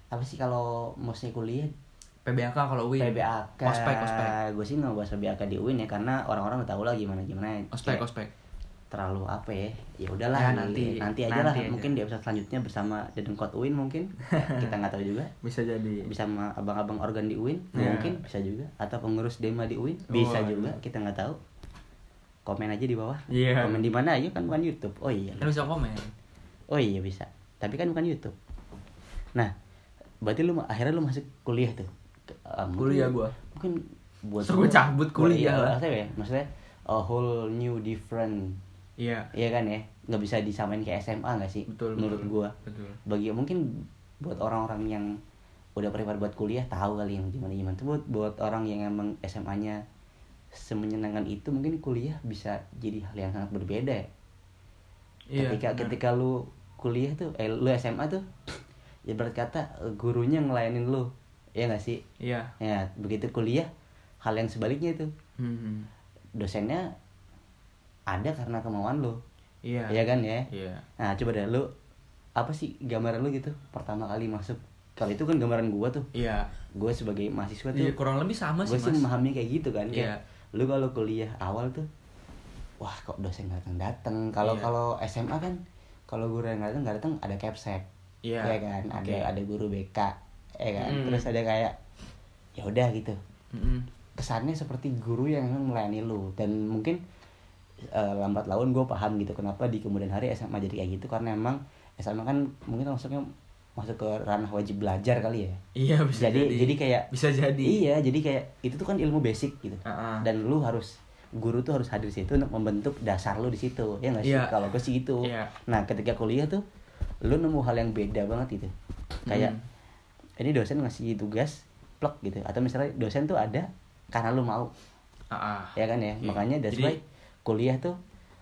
Apa sih kalau mesti kuliah PBAK kalau UIN PBAK. ospek ospek Gue sih nggak bahas PBAK di UIN ya karena orang-orang udah tahu lah gimana gimana. ospek ospek terlalu apa ya ya udahlah Ya, nanti. nanti nanti aja Nanti lah aja. mungkin di episode selanjutnya bersama Dedengkot Uin mungkin kita nggak tahu juga bisa jadi bisa sama abang-abang organ di Uin Ya. mungkin bisa juga atau pengurus Dema di Uin Oh, bisa Waduh. juga kita nggak tahu komen aja di bawah Iya. komen di mana aja kan bukan YouTube oh iya kan bisa komen oh iya bisa tapi kan bukan YouTube nah berarti lu ma- akhirnya lu masuk kuliah tuh Ke- eh, mungkin- Kuliah gua. mungkin buat Terus gua cabut kuliah Iya, lah. maksudnya, maksudnya a whole new different iya Iya kan ya, nggak bisa disamain kayak SMA nggak sih? Betul, Menurut betul. gua. Betul. Bagi mungkin buat orang-orang yang udah prepare buat kuliah tahu kali yang gimana gimana. Tapi buat buat orang yang emang SMA-nya semenyenangkan itu mungkin kuliah bisa jadi hal yang sangat berbeda ya. Iya, ketika benar. ketika lu kuliah tuh, eh lu SMA tuh, ya berat kata eh, gurunya ngelayanin lu, ya nggak sih? iya Ya begitu kuliah hal yang sebaliknya itu Hmm. dosennya ada karena kemauan lu. Iya. Iya kan ya? Iya. Nah, coba deh lu apa sih gambaran lu gitu pertama kali masuk? Kalau itu kan gambaran gua tuh. Iya. Gua sebagai mahasiswa tuh. Iya, kurang lebih sama gua sih, sih Mas. memahami kayak gitu kan kayak Iya. lu kalau kuliah awal tuh wah kok dosen nggak datang datang kalau Iya. kalau SMA kan kalau guru yang nggak datang nggak datang ada capsek Iya. ya kan ada Oke. ada guru BK ya kan Mm. terus ada kayak ya udah gitu Mm-mm. kesannya seperti guru yang memang melayani lu dan mungkin eh, lambat laun gue paham gitu kenapa di kemudian hari SMA jadi kayak gitu karena emang SMA kan mungkin masuknya masuk ke ranah wajib belajar kali ya Iya, bisa jadi, jadi. jadi kayak bisa jadi. iya jadi kayak itu tuh kan ilmu basic gitu Ah, ah. dan lu harus guru tuh harus hadir di situ untuk membentuk dasar lu di situ ya nggak sih Iya. kalau gue sih gitu Iya. nah ketika kuliah tuh lu nemu hal yang beda banget gitu kayak Hmm. ini dosen ngasih tugas plek gitu atau misalnya dosen tuh ada karena lu mau Ah, ah. ya kan ya Iya. makanya that's Jadi, why kuliah tuh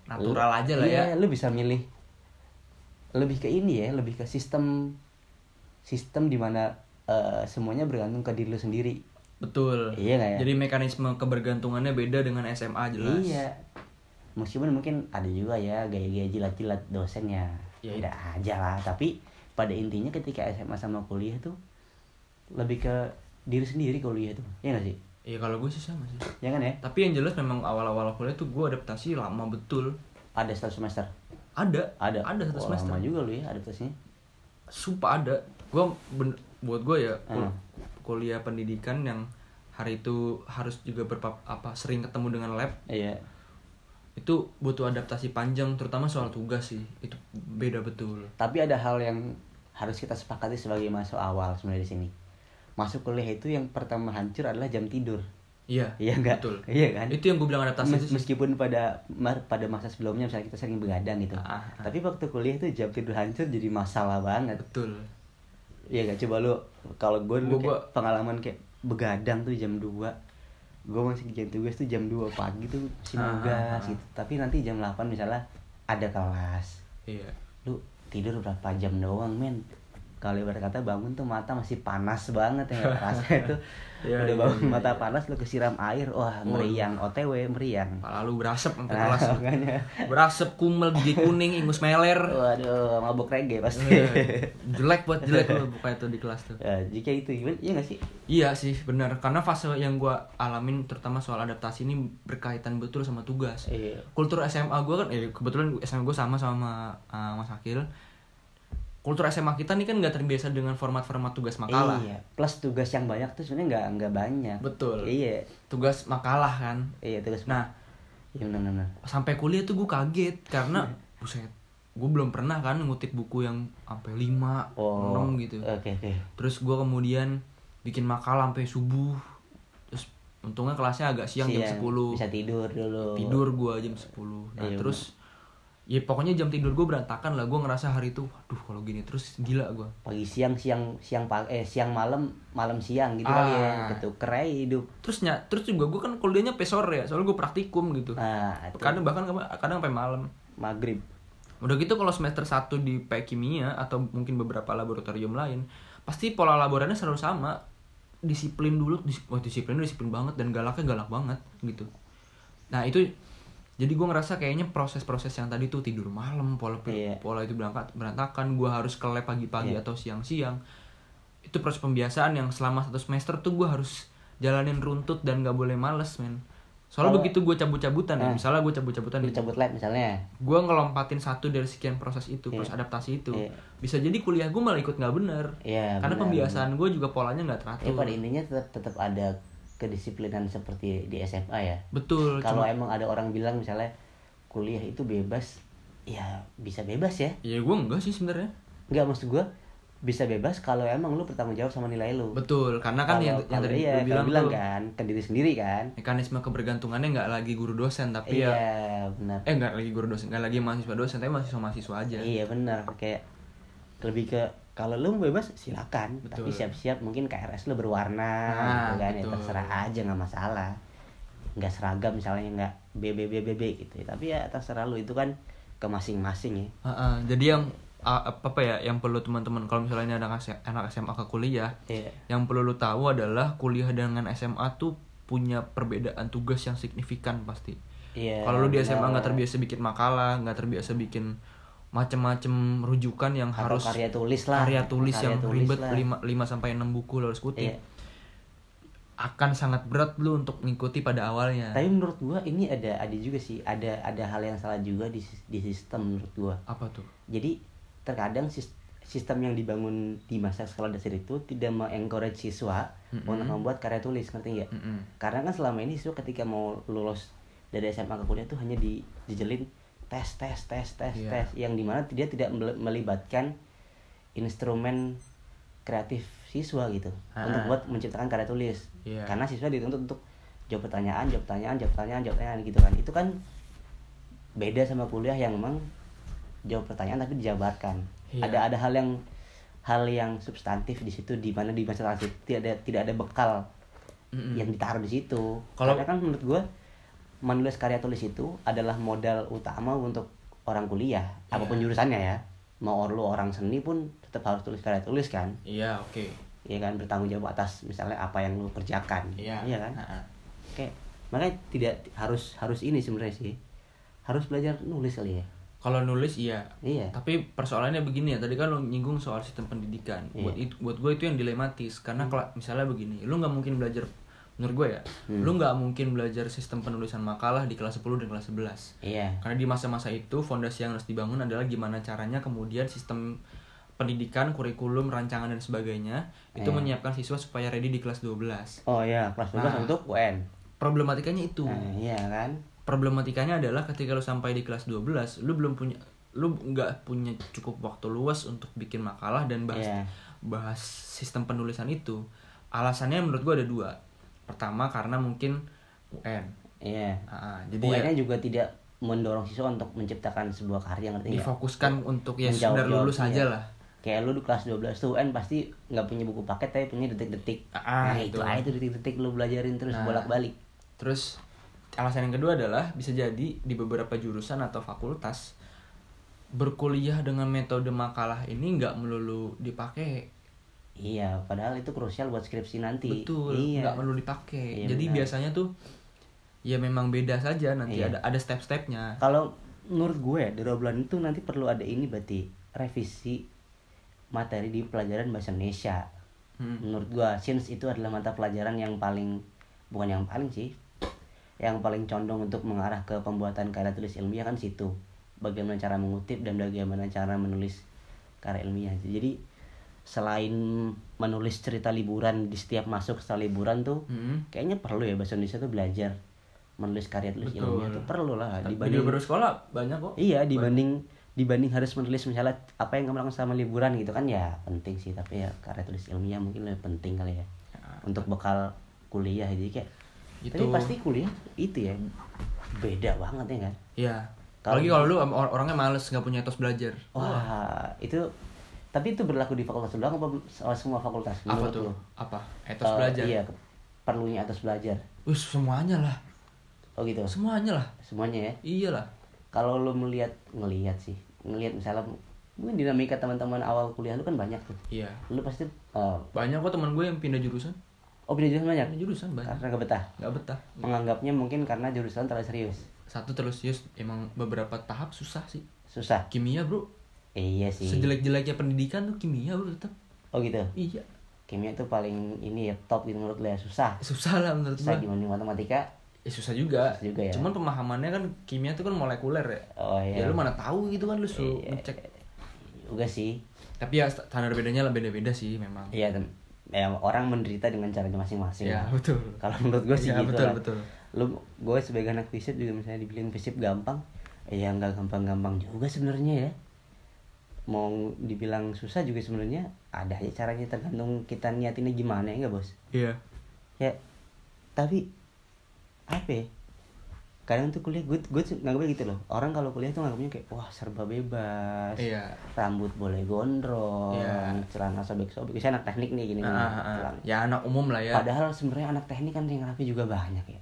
natural lu- aja lah iya, ya. lu bisa milih lebih ke ini ya lebih ke sistem sistem dimana eh, semuanya bergantung ke diri lu sendiri Betul. Iya nggak ya? Jadi mekanisme kebergantungannya beda dengan SMA jelas. iya meskipun mungkin ada juga ya gaya-gaya jilat-jilat dosen ya Ya, Ada aja lah, tapi pada intinya ketika SMA sama kuliah tuh lebih ke diri sendiri kuliah tuh. Iya gak sih? Iya kalau gue sih sama sih. Ya kan ya? Tapi yang jelas memang awal-awal kuliah tuh gue adaptasi lama betul. Ada satu semester. Ada. Ada. Ada satu Wah, semester. Lama juga lu ya adaptasinya. Sumpah ada. Gue ben- buat gue ya kul- Hmm. kuliah pendidikan yang hari itu harus juga berpap apa sering ketemu dengan lab Iya. itu butuh adaptasi panjang terutama soal tugas sih itu beda betul Tapi ada hal yang harus kita sepakati sebagai masuk awal sebenarnya di sini. Masuk kuliah itu yang pertama hancur adalah jam tidur. iya Iya enggak? betul Iya kan? itu yang gue bilang adaptasi Mes- itu sih meskipun pada mar- pada masa sebelumnya misalnya kita sering begadang gitu. Ah, ah. Tapi waktu kuliah itu jam tidur hancur jadi masalah banget. betul Iya gak coba lu kalau gue dulu Gua- kayak gua- pengalaman kayak begadang tuh jam 2 gue masih kerjain tugas tuh jam 2 pagi tuh masih Ah, nugas ah, ah. gitu tapi nanti jam 8 misalnya ada kelas iya lu tidur berapa jam doang men kalau ibarat kata bangun tuh mata masih panas banget ya nggak? rasanya tuh Iya, udah iya, bangun iya, mata iya. panas lu kesiram air wah Waduh. meriang otw meriang lalu berasap sampai Nah, kelas makanya. berasap kumel gigit kuning ingus meler waduh mabuk reggae pasti Eh, jelek buat jelek gue buka itu di kelas tuh Ya, jika itu gimana iya gak sih iya sih benar karena fase yang gue alamin terutama soal adaptasi ini berkaitan betul sama tugas Iya. kultur SMA gue kan eh, kebetulan SMA gue sama sama uh, Mas Akil kultur SMA kita nih kan nggak terbiasa dengan format-format tugas makalah Iya, plus tugas yang banyak tuh sebenarnya nggak nggak banyak. Betul. Iya, tugas makalah kan iya tugas. nah iya benar benar. sampai kuliah tuh gue kaget karena Iya. buset gue belum pernah kan ngutip buku yang sampai lima Oh, enam gitu Oke oke. terus gue kemudian bikin makalah sampai subuh terus untungnya kelasnya agak siang, jam 10 Iya, Bisa tidur dulu. tidur gua jam 10 nah Iya, terus ya pokoknya jam tidur gue berantakan lah gue ngerasa hari itu waduh kalau gini terus gila gua Pagi siang siang siang pagi eh siang malam malam siang gitu Ah. kali ya. Ketuker aja hidup. terus ny- terus juga gue kan kuliahnya sampai sore ya soalnya gue praktikum gitu Nah, itu kadang bahkan kadang sampai malam maghrib. udah gitu kalau semester 1 di P kimia atau mungkin beberapa laboratorium lain pasti pola laborannya selalu sama disiplin dulu dis wah, disiplin disiplin banget dan galaknya galak banget gitu nah itu jadi gue ngerasa kayaknya proses-proses yang tadi tuh tidur malam pola Iya. pola itu berangkat berantakan gue harus ke lab Iya. pagi-pagi atau siang-siang itu proses pembiasaan yang selama satu semester tuh gue harus jalanin runtut dan gak boleh males men soalnya Kalau- begitu gue cabut-cabutan ya Ah. misalnya gue cabut-cabutan Lu di cabut lab misalnya. gue ngelompatin satu dari sekian proses itu Iya. proses adaptasi itu Iya. bisa jadi kuliah gue malah ikut nggak bener Iya. karena benar. pembiasaan gue juga polanya nggak teratur Ya pada intinya tetap tetap ada kedisiplinan seperti di SMA ya. betul Kalau cuma emang ada orang bilang misalnya kuliah itu bebas, ya bisa bebas ya. ya gue enggak sih sebenarnya Enggak maksud gua bisa bebas kalau emang lu bertanggung jawab sama nilai lu. betul karena kan yang, yang kalau- tadi iya, lu kalau bilang, bilang tuh, kan ke diri sendiri kan. mekanisme kebergantungannya nggak lagi guru dosen tapi Iya, ya benar. eh nggak lagi guru dosen nggak lagi mahasiswa dosen tapi mahasiswa mahasiswa aja Iya, benar. Kayak lebih ke kalau lu mau bebas silakan, tapi Betul. siap-siap mungkin KRS lu berwarna Nah, gitu kan ya betul. terserah aja nggak masalah. Nggak seragam misalnya nggak BBBBB gitu. Tapi ya terserah lu itu kan ke masing-masing ya. Heeh, jadi yang a- apa apa ya yang perlu teman-teman kalau misalnya ini anak S- anak SMA ke kuliah Iya. yang perlu lu tahu adalah kuliah dengan SMA tuh punya perbedaan tugas yang signifikan pasti Iya. kalau lu di SMA benar. nggak terbiasa bikin makalah nggak terbiasa bikin macem-macem rujukan yang Atau harus karya tulis lah. karya tulis Karya yang tulis ribet lah. 5 sampai 6 buku lu harus kutip Iya. akan sangat berat lu untuk mengikuti pada awalnya Tapi menurut gua ini ada ada juga sih, ada ada hal yang salah juga di sis- di sistem menurut gua. apa tuh Jadi terkadang sis- sistem yang dibangun di masa sekolah dasar itu tidak mengencourage siswa Mm-mm. untuk membuat karya tulis, ngerti nggak? Mm-mm. Karena kan selama ini siswa ketika mau lulus dari SMA ke kuliah tuh hanya di- dijejelin tes tes tes tes Iya. tes yang dimana dia tidak mel- melibatkan instrumen kreatif siswa gitu Ah. untuk buat menciptakan karya tulis Iya. karena siswa dituntut untuk jawab pertanyaan jawab pertanyaan jawab pertanyaan jawab pertanyaan gitu kan itu kan beda sama kuliah yang memang jawab pertanyaan tapi dijabarkan Iya. ada ada hal yang hal yang substantif di situ di mana di masa transit tidak ada tidak ada bekal Mm-mm. yang ditaruh di situ Hmm. Kalau- karena kan menurut gue menulis karya tulis itu adalah modal utama untuk orang kuliah Iya. apapun jurusannya ya mau lu orang seni pun tetap harus tulis karya tulis kan iya oke ya kan bertanggung jawab atas misalnya apa yang lu kerjakan iya kan Ha-ha. Oke, makanya tidak harus harus ini sebenarnya sih harus belajar nulis kali ya Kalau nulis iya. Iya. Tapi persoalannya begini ya, tadi kan lo nyinggung soal sistem pendidikan. Iya. Hmm. Buat itu buat gue itu yang dilematis karena kalau misalnya begini, lu nggak mungkin belajar menurut gue ya. Hmm. Lu nggak mungkin belajar sistem penulisan makalah di kelas 10 dan kelas 11. Iya. Karena di masa-masa itu fondasi yang harus dibangun adalah gimana caranya kemudian sistem pendidikan, kurikulum, rancangan dan sebagainya itu Iya. menyiapkan siswa supaya ready di kelas 12. Oh iya, kelas 12 Nah. untuk UN. Problematikanya itu. Nah, iya kan? problematikanya adalah ketika lu sampai di kelas 12 lu belum punya lu nggak punya cukup waktu luas untuk bikin makalah dan bahas Iya. bahas sistem penulisan itu alasannya menurut gua ada dua pertama karena mungkin UN Iya. Ah, UN-nya jadi ya, juga tidak mendorong siswa untuk menciptakan sebuah karya Iya. ngerti nggak? difokuskan untuk ya Menjawab sekedar lulus jawab, aja iya. lah Kayak lu di kelas 12 tuh UN pasti nggak punya buku paket tapi punya detik-detik. Ah, nah, itu itu. aja tuh detik-detik lu belajarin terus Nah. bolak-balik. Terus alasan yang kedua adalah bisa jadi di beberapa jurusan atau fakultas berkuliah dengan metode makalah ini nggak melulu dipakai. Iya, padahal itu krusial buat skripsi nanti. Betul, Iya. nggak melulu dipakai. Iya, jadi benar. biasanya tuh ya memang beda saja nanti Iya. ada ada step-stepnya. Kalau menurut gue dari obrolan itu nanti perlu ada ini berarti revisi materi di pelajaran bahasa Indonesia. Hmm. Menurut gue since itu adalah mata pelajaran yang paling bukan yang paling sih yang paling condong untuk mengarah ke pembuatan karya tulis ilmiah kan situ. Bagaimana cara mengutip dan bagaimana cara menulis karya ilmiah. Jadi selain menulis cerita liburan di setiap masuk setelah liburan tuh Hmm. kayaknya perlu ya bahasa Indonesia tuh belajar menulis karya tulis Betul. ilmiah tuh perlu lah Tapi Nah, dibanding di baru sekolah banyak kok. Iya dibanding dibanding harus menulis misalnya apa yang kamu lakukan selama liburan gitu kan ya penting sih tapi ya karya tulis ilmiah mungkin lebih penting kali ya untuk bekal kuliah jadi kayak Nah. Itu. tapi pasti kuliah itu ya beda banget ya kan Iya. Kalau- Apalagi kalau lu em- or- orangnya males nggak punya etos belajar. wah itu tapi itu berlaku di fakultas doang apa soal semua fakultas Apa Menurut tuh? lu? Apa? Etos Eh, belajar. iya perlunya atas belajar Wih, semuanya lah. oh gitu Semuanya lah. semuanya ya Iyalah. kalau lu melihat ngelihat sih ngelihat misalnya mungkin dinamika teman-teman awal kuliah lu kan banyak tuh Iya. lu pasti eh, Banyak kok teman gue yang pindah jurusan. Oh pindah jurusan banyak? Pindah jurusan banyak. Karena gak betah? Gak betah. Menganggapnya mungkin karena jurusan terlalu serius Satu terus serius emang beberapa tahap susah sih. Susah? Kimia, Bro. Eh, iya sih Sejelek-jeleknya pendidikan tuh kimia, Bro, tetap. Oh gitu? Iya. Kimia tuh paling ini ya top gitu menurut lo ya Susah? Susah lah menurut Susah gue. dibanding matematika? Eh, susah juga. Susah juga ya. Cuman pemahamannya kan kimia tuh kan molekuler ya. Oh iya Ya lu mana tahu gitu kan lu suruh ngecek. Juga sih Tapi ya standar bedanya lah beda-beda sih memang. Iya tem- ya, orang menderita dengan caranya masing-masing lah. Iya, betul. Kalau menurut gue sih Iya, gitu betul, lah. betul. Lu gue sebagai anak fisip juga misalnya dibilang fisip gampang, ya nggak gampang-gampang juga sebenarnya ya. Mau dibilang susah juga sebenarnya ada aja caranya tergantung kita niatinnya gimana ya nggak bos? Iya. Ya tapi apa ya? Kadang tuh kuliah gue gue tuh nganggapnya gitu loh. Orang kalau kuliah tuh nganggapnya kayak wah serba bebas Iya. rambut boleh gondrong, Iya. celana sobek-sobek. Saya anak teknik nih gini. Ah, ah, ah. Celana. Ya anak umum lah ya. Iya. Padahal sebenarnya anak teknik kan yang rapi juga banyak ya.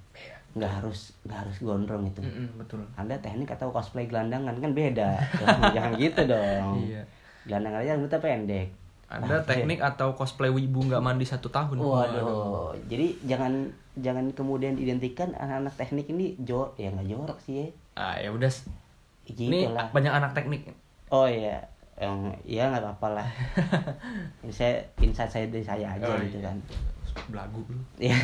Nggak harus nggak harus gondrong itu. Mm-mm, betul. Anda teknik atau cosplay gelandangan kan beda. Jangan, jangan gitu dong. Iya. Gelandangan aja rambutnya pendek. Anda teknik atau cosplay wibu nggak mandi satu tahun? iya. Waduh. Jadi jangan jangan kemudian diidentikan anak-anak teknik ini jor ya nggak jorok sih ya. Ah ya udah. s- Gitu Ini lah. banyak anak teknik. Oh iya, yang ya nggak apa-apa lah. Ini saya insight saya dari saya aja Oh, gitu iya. kan. Belagu lu. Iya.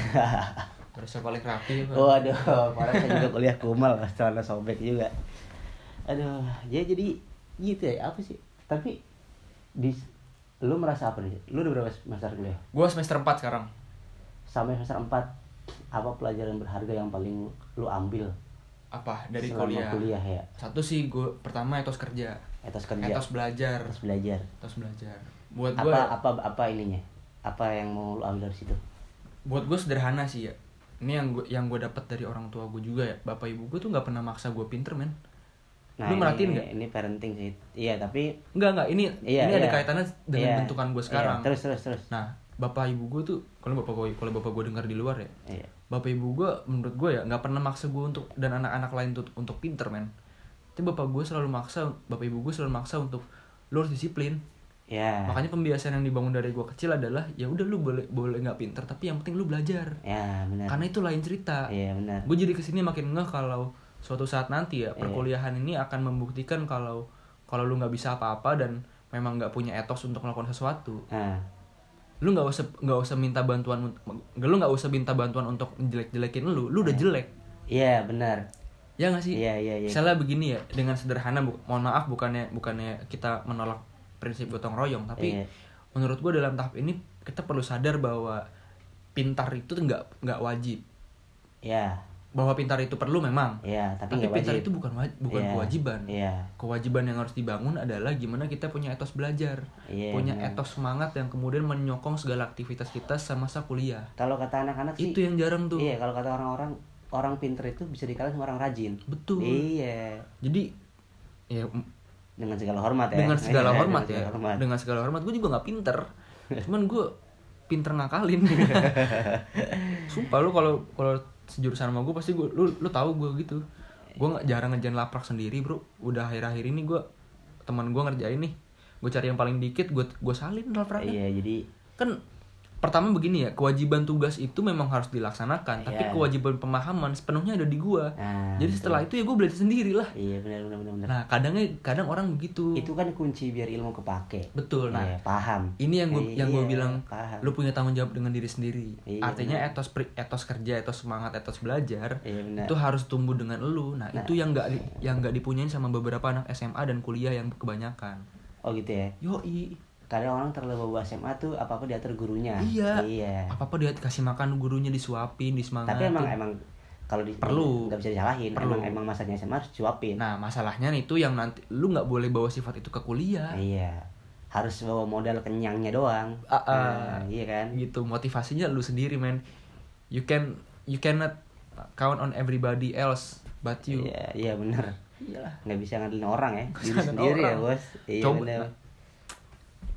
Terus yang paling rapi. apa? Waduh, padahal saya juga kuliah kumal, celana sobek juga. Aduh, ya jadi gitu ya apa sih? Tapi di lu merasa apa nih? Lu udah berapa semester kuliah? Gua semester 4 sekarang. Sampai semester 4 apa pelajaran berharga yang paling lu ambil Apa dari selama kuliah. kuliah ya? Satu sih gua pertama etos kerja, Etos kerja, etos belajar, etos belajar. etos belajar. Buat Apa gua ya. apa apa ininya? Apa yang mau lu ambil dari situ? buat gue sederhana sih ya ini yang gue yang gue dapat dari orang tua gue juga ya bapak ibu gue tuh nggak pernah maksa gue pinter men lu Nah, ini- merhatiin nggak Ini parenting sih. Iya, tapi nggak nggak ini Iya, ini ada iya. kaitannya dengan iya, bentukan gue iya, sekarang terus terus terus. nah bapak ibu gue tuh kalau bapak gue kalau bapak gue dengar di luar ya Iya. bapak ibu gue menurut gue ya nggak pernah maksa gue untuk dan anak-anak lain tuh untuk pinter men tapi bapak gue selalu maksa bapak ibu gue selalu maksa untuk lu harus disiplin Ya. makanya pembiasaan yang dibangun dari gue kecil adalah ya udah lu boleh boleh nggak pinter tapi yang penting lu belajar Ya, benar. karena itu lain cerita Iya, benar. gue jadi kesini makin ngeh kalau suatu saat nanti Iya. ya perkuliahan ini akan membuktikan kalau kalau lu nggak bisa apa-apa dan memang nggak punya etos untuk melakukan sesuatu Ah, lu nggak usah nggak usah minta bantuan unt- lu nggak usah minta bantuan untuk jelek-jelekin lu lu udah jelek iya benar ya nggak sih Iya, iya, iya. misalnya begini ya dengan sederhana bu- mohon maaf bukannya bukannya kita menolak prinsip gotong royong tapi Iya. menurut gue dalam tahap ini kita perlu sadar bahwa pintar itu tuh nggak nggak wajib iya bahwa pintar itu perlu memang iya tapi tapi, nggak pintar wajib itu bukan waj- bukan Iya, kewajiban iya kewajiban yang harus dibangun adalah gimana kita punya etos belajar Iya, punya benar. etos semangat yang kemudian menyokong segala aktivitas kita semasa kuliah kalau kata anak-anak sih itu yang jarang tuh iya kalau kata orang-orang orang pinter itu bisa dikalahin sama orang rajin betul iya jadi ya m- dengan segala hormat ya dengan segala Iya, hormat dengan ya segala hormat. dengan segala hormat gue juga nggak pinter cuman gue pinter ngakalin sumpah lu kalau kalau sejurusan sama gue pasti gue lu lu tahu gue gitu gue nggak jarang ngerjain laprak sendiri bro udah akhir-akhir ini gue teman gue ngerjain nih gue cari yang paling dikit gue gue salin lapraknya iya jadi kan pertama begini ya kewajiban tugas itu memang harus dilaksanakan tapi Iya. kewajiban pemahaman sepenuhnya ada di gua nah, jadi setelah itu ya gue belajar sendiri lah iya benar benar benar benar. nah kadangnya kadang orang begitu itu kan kunci biar ilmu kepake betul nah Iya, paham ini yang gue Iya, yang gue bilang paham. lu punya tanggung jawab dengan diri sendiri Iya, artinya etos pri- etos kerja etos semangat etos belajar iya benar iya. itu harus tumbuh dengan lu nah, itu yang nggak di- yang nggak dipunyain sama beberapa anak SMA dan kuliah yang kebanyakan oh gitu ya yoi kadang orang terlalu bawa SMA tuh apa apa diatur gurunya Iya. iya apa apa dia kasih makan gurunya disuapin tapi disemangatin emang emang kalau di Perlu. nggak bisa disalahin Perlu. emang emang masanya SMA harus cuapin Nah, masalahnya nih itu yang nanti lu nggak boleh bawa sifat itu ke kuliah. iya harus bawa modal kenyangnya doang Ah, ah. Nah, iya kan Gitu, motivasinya lu sendiri, men. You can you cannot count on everybody else but you. iya iya benar Gitu. Iyalah. nggak bisa ngandelin orang ya Nggak bisa diri ngandelin sendiri ya orang. bos iya Coba- nah, benar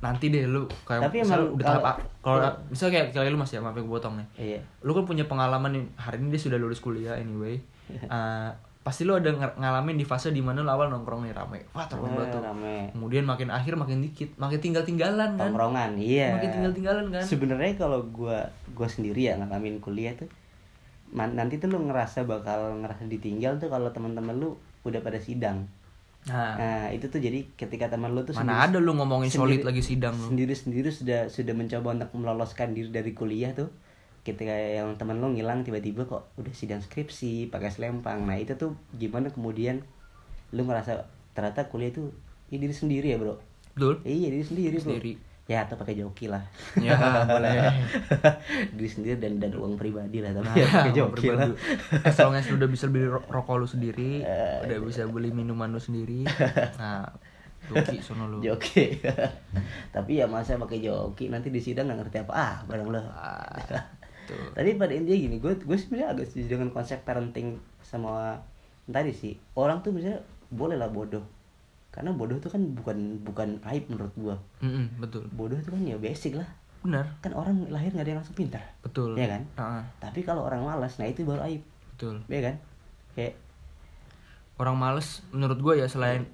Nanti deh lu kayak Tapi misal emang udah kalau- tahap A- kalau kalau- misal kayak kayak lu Mas ya, maaf ya gue potong nih. iya Lu kan punya pengalaman nih, hari ini dia sudah lulus kuliah anyway. Eh, pasti lu ada nger- ngalamin di fase dimana lu awal nongkrong nih rame. Wah, Wah, teman banget Ah, tuh. Eh, rame Kemudian makin akhir makin dikit, makin tinggal-tinggalan kan. tongkrongan iya Makin tinggal-tinggalan kan. sebenarnya kalau gua gua sendiri ya ngalamin kuliah tuh man- nanti tuh lu ngerasa bakal ngerasa ditinggal tuh kalau teman-teman lu udah pada sidang Nah, nah itu tuh jadi ketika teman lu tuh Mana ada lu ngomongin solid sendiri- lagi sidang lu. sendiri sendiri sudah sudah mencoba untuk meloloskan diri dari kuliah tuh ketika yang teman lu ngilang tiba-tiba kok udah sidang skripsi pakai selempang nah itu tuh gimana kemudian lu ngerasa ternyata kuliah tuh ini diri sendiri ya bro Betul? iya diri sendiri bro Sendiri. ya atau pakai joki lah Ya, boleh. diri sendiri dan dan uang pribadi lah tapi Nah, ya pakai joki lah Eh, iya. berbagi. As long as lu udah bisa beli ro- rokok lu sendiri, udah bisa beli minuman lu sendiri. Nah, joki sono lu. joki tapi ya masa pakai joki nanti di sidang nggak ngerti apa ah barang lo Ah, tuh. tapi pada intinya gini gue gue sebenarnya agak setuju dengan konsep parenting sama tadi sih orang tuh misalnya boleh lah bodoh karena bodoh tuh kan bukan bukan aib menurut gue Mm-mm, betul. bodoh tuh kan ya basic lah Benar. kan orang lahir nggak ada yang langsung pintar Betul. Iya kan? Ah, tapi kalau orang malas nah itu baru aib betul. ya kan kayak Orang males menurut gua ya selain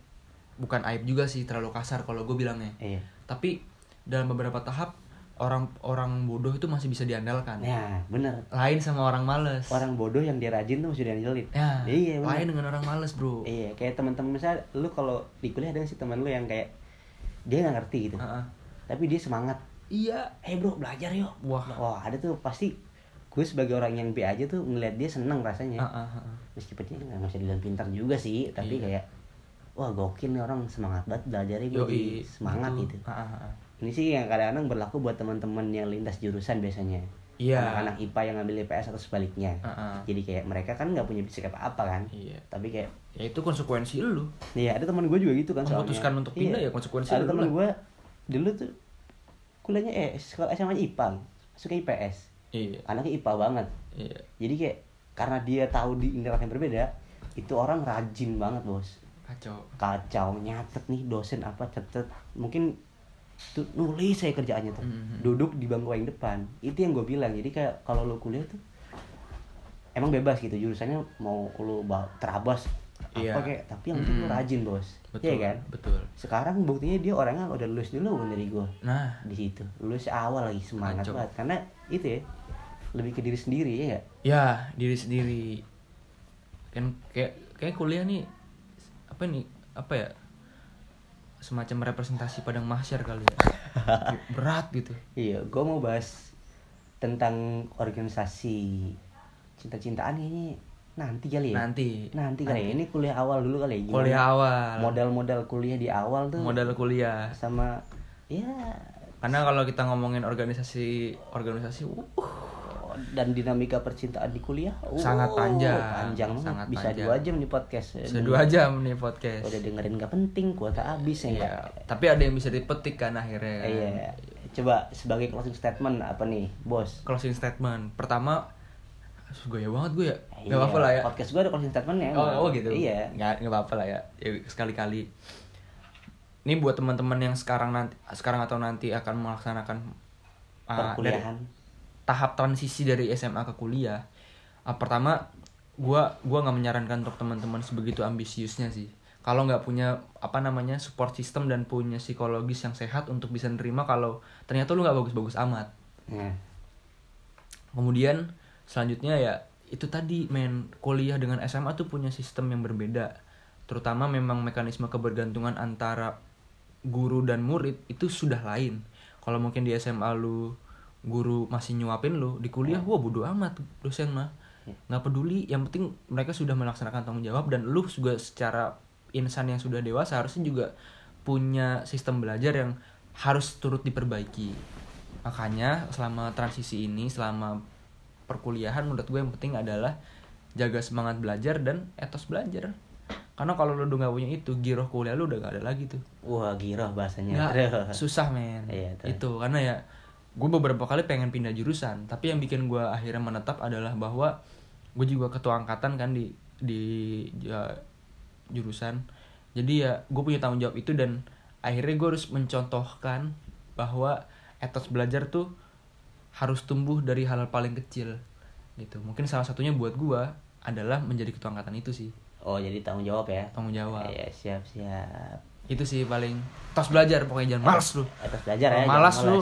bukan aib juga sih terlalu kasar kalau gue bilangnya. iya Tapi dalam beberapa tahap orang-orang bodoh itu masih bisa diandalkan. nah bener Lain sama orang males. orang bodoh yang dia rajin tuh masih dianjelin Ya, iya bener. lain dengan orang males, Bro. Iya, kayak teman-teman misalnya lu kalau di kuliah ada sih teman lu yang kayak dia nggak ngerti gitu, Ah, ah. tapi dia semangat. Iya. Eh bro belajar yuk. Wah. Wah ada tuh pasti gue sebagai orang yang B aja tuh ngeliat dia seneng rasanya. Ah, ah, ah, ah. Meskipun dia nggak masih bilang pintar juga sih, tapi Iya. kayak wah gokil nih orang semangat banget belajarnya gue jadi Yoi, semangat gitu. Ah, ah, ah. Ini sih yang kadang-kadang berlaku buat teman-teman yang lintas jurusan biasanya. Iya. Anak-anak IPA yang ngambil IPS atau sebaliknya. Ah, ah. Jadi kayak mereka kan nggak punya bisik apa-apa kan. Iya. Tapi kayak Ya itu konsekuensi lu. Iya, ada teman gue juga gitu kan soalnya. Memutuskan untuk pindah ya konsekuensi Ada dulu teman lah. gue dulu tuh kuliahnya eh sekolah SMA -nya IPA, suka IPS. Iya. Anaknya IPA banget. Iya. Jadi kayak karena dia tahu di indera yang berbeda, itu orang rajin banget, Bos. Kacau. Kacau nyatet nih dosen apa catet. Mungkin tuh nulis saya kerjaannya tuh. Mhm. Duduk di bangku yang depan. Itu yang gue bilang. Jadi kayak kalau lo kuliah tuh emang bebas gitu jurusannya mau lo ba- terabas Iya. apa kayak tapi yang penting lo Mhm. rajin bos Betul. Iya kan Betul. sekarang buktinya dia orangnya udah lulus dulu dari gue Nah, di situ lulus awal lagi semangat Kacau. banget karena itu ya iya lebih ke diri sendiri ya nggak? ya diri sendiri kan kayak kayak kuliah nih apa nih apa ya semacam representasi padang mahsyar kali ya berat gitu Iya, gue mau bahas tentang organisasi cinta-cintaan ini nanti kali ya. nanti Nanti kali ya. Ini kuliah awal dulu kali ya. gimana kuliah awal Modal-modal kuliah di awal tuh modal kuliah sama ya karena kalau kita ngomongin organisasi organisasi uh, dan dinamika percintaan di kuliah. uh, Sangat panjang, Panjang banget. sangat Bisa panjang. dua jam di podcast. ya. sudah dua jam nih podcast Udah dengerin gak penting, kuota habis ya. nggak? Iya, tapi ada yang bisa dipetik kan akhirnya. kan? Iya. Coba sebagai closing statement apa nih, Bos? Closing statement. Pertama, asus, gaya banget gue ya. Iya, Gak apa-apa lah ya. Podcast gue ada closing statementnya. Oh, oh gitu. Iya. Gak, gak apa-apa lah ya. Ya, Sekali-kali. Ini buat teman-teman yang sekarang nanti sekarang atau nanti akan melaksanakan ah, dari- Perkuliahan. tahap transisi dari SMA ke kuliah. Ah, pertama, gua gua nggak menyarankan untuk teman-teman sebegitu ambisiusnya sih. Kalau nggak punya apa namanya support system dan punya psikologis yang sehat untuk bisa nerima kalau ternyata lu nggak bagus-bagus amat. Nah, Kemudian selanjutnya ya itu tadi men kuliah dengan SMA tuh punya sistem yang berbeda. Terutama memang mekanisme kebergantungan antara guru dan murid itu sudah lain. Kalau mungkin di SMA lu guru masih nyuapin lu, di kuliah wah bodo amat dosen mah. nggak peduli, yang penting mereka sudah melaksanakan tanggung jawab dan lu juga secara insan yang sudah dewasa harusnya juga punya sistem belajar yang harus turut diperbaiki makanya selama transisi ini selama perkuliahan menurut gue yang penting adalah jaga semangat belajar dan etos belajar karena kalau lu udah nggak punya itu giroh kuliah lu udah gak ada lagi tuh wah giroh bahasanya. nggak Aduh. susah men Iya, tuh. itu karena ya gue beberapa kali pengen pindah jurusan tapi yang bikin gue akhirnya menetap adalah bahwa gue juga ketua angkatan kan di di ya, jurusan jadi ya gue punya tanggung jawab itu dan akhirnya gue harus mencontohkan bahwa etos belajar tuh harus tumbuh dari hal paling kecil gitu mungkin salah satunya buat gue adalah menjadi ketua angkatan itu sih Oh jadi tanggung jawab ya? tanggung jawab Iya siap siap. itu sih paling etos belajar pokoknya jangan males lu Atas belajar ya. Kalau jangan malas lu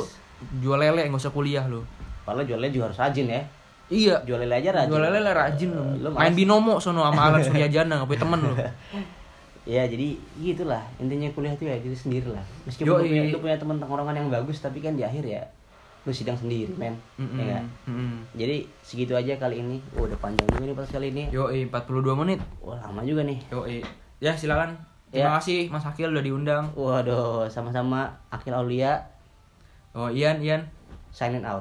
jual lele nggak usah kuliah lu. Padahal jualnya juga harus rajin ya. Iya. Jual lele aja rajin. Jual lele lah rajin lu. Eh, lu Main binomo sono sama Alan Suryajana nggak punya temen lu. Iya jadi gitulah intinya kuliah tuh ya diri sendiri lah. Meskipun Yoi. lu punya, lu punya teman tongkrongan yang bagus tapi kan di akhir ya lu sidang sendiri men. Mm-mm, Iya nggak? mm-mm. Jadi segitu aja kali ini. Oh, udah panjang juga nih pas kali ini. Yoi 42 menit. Wah lama juga nih. Yoi. Ya silakan. Terima Ya. kasih Mas Akil udah diundang. Waduh sama-sama Akil Aulia Oh Ian Ian. signing out.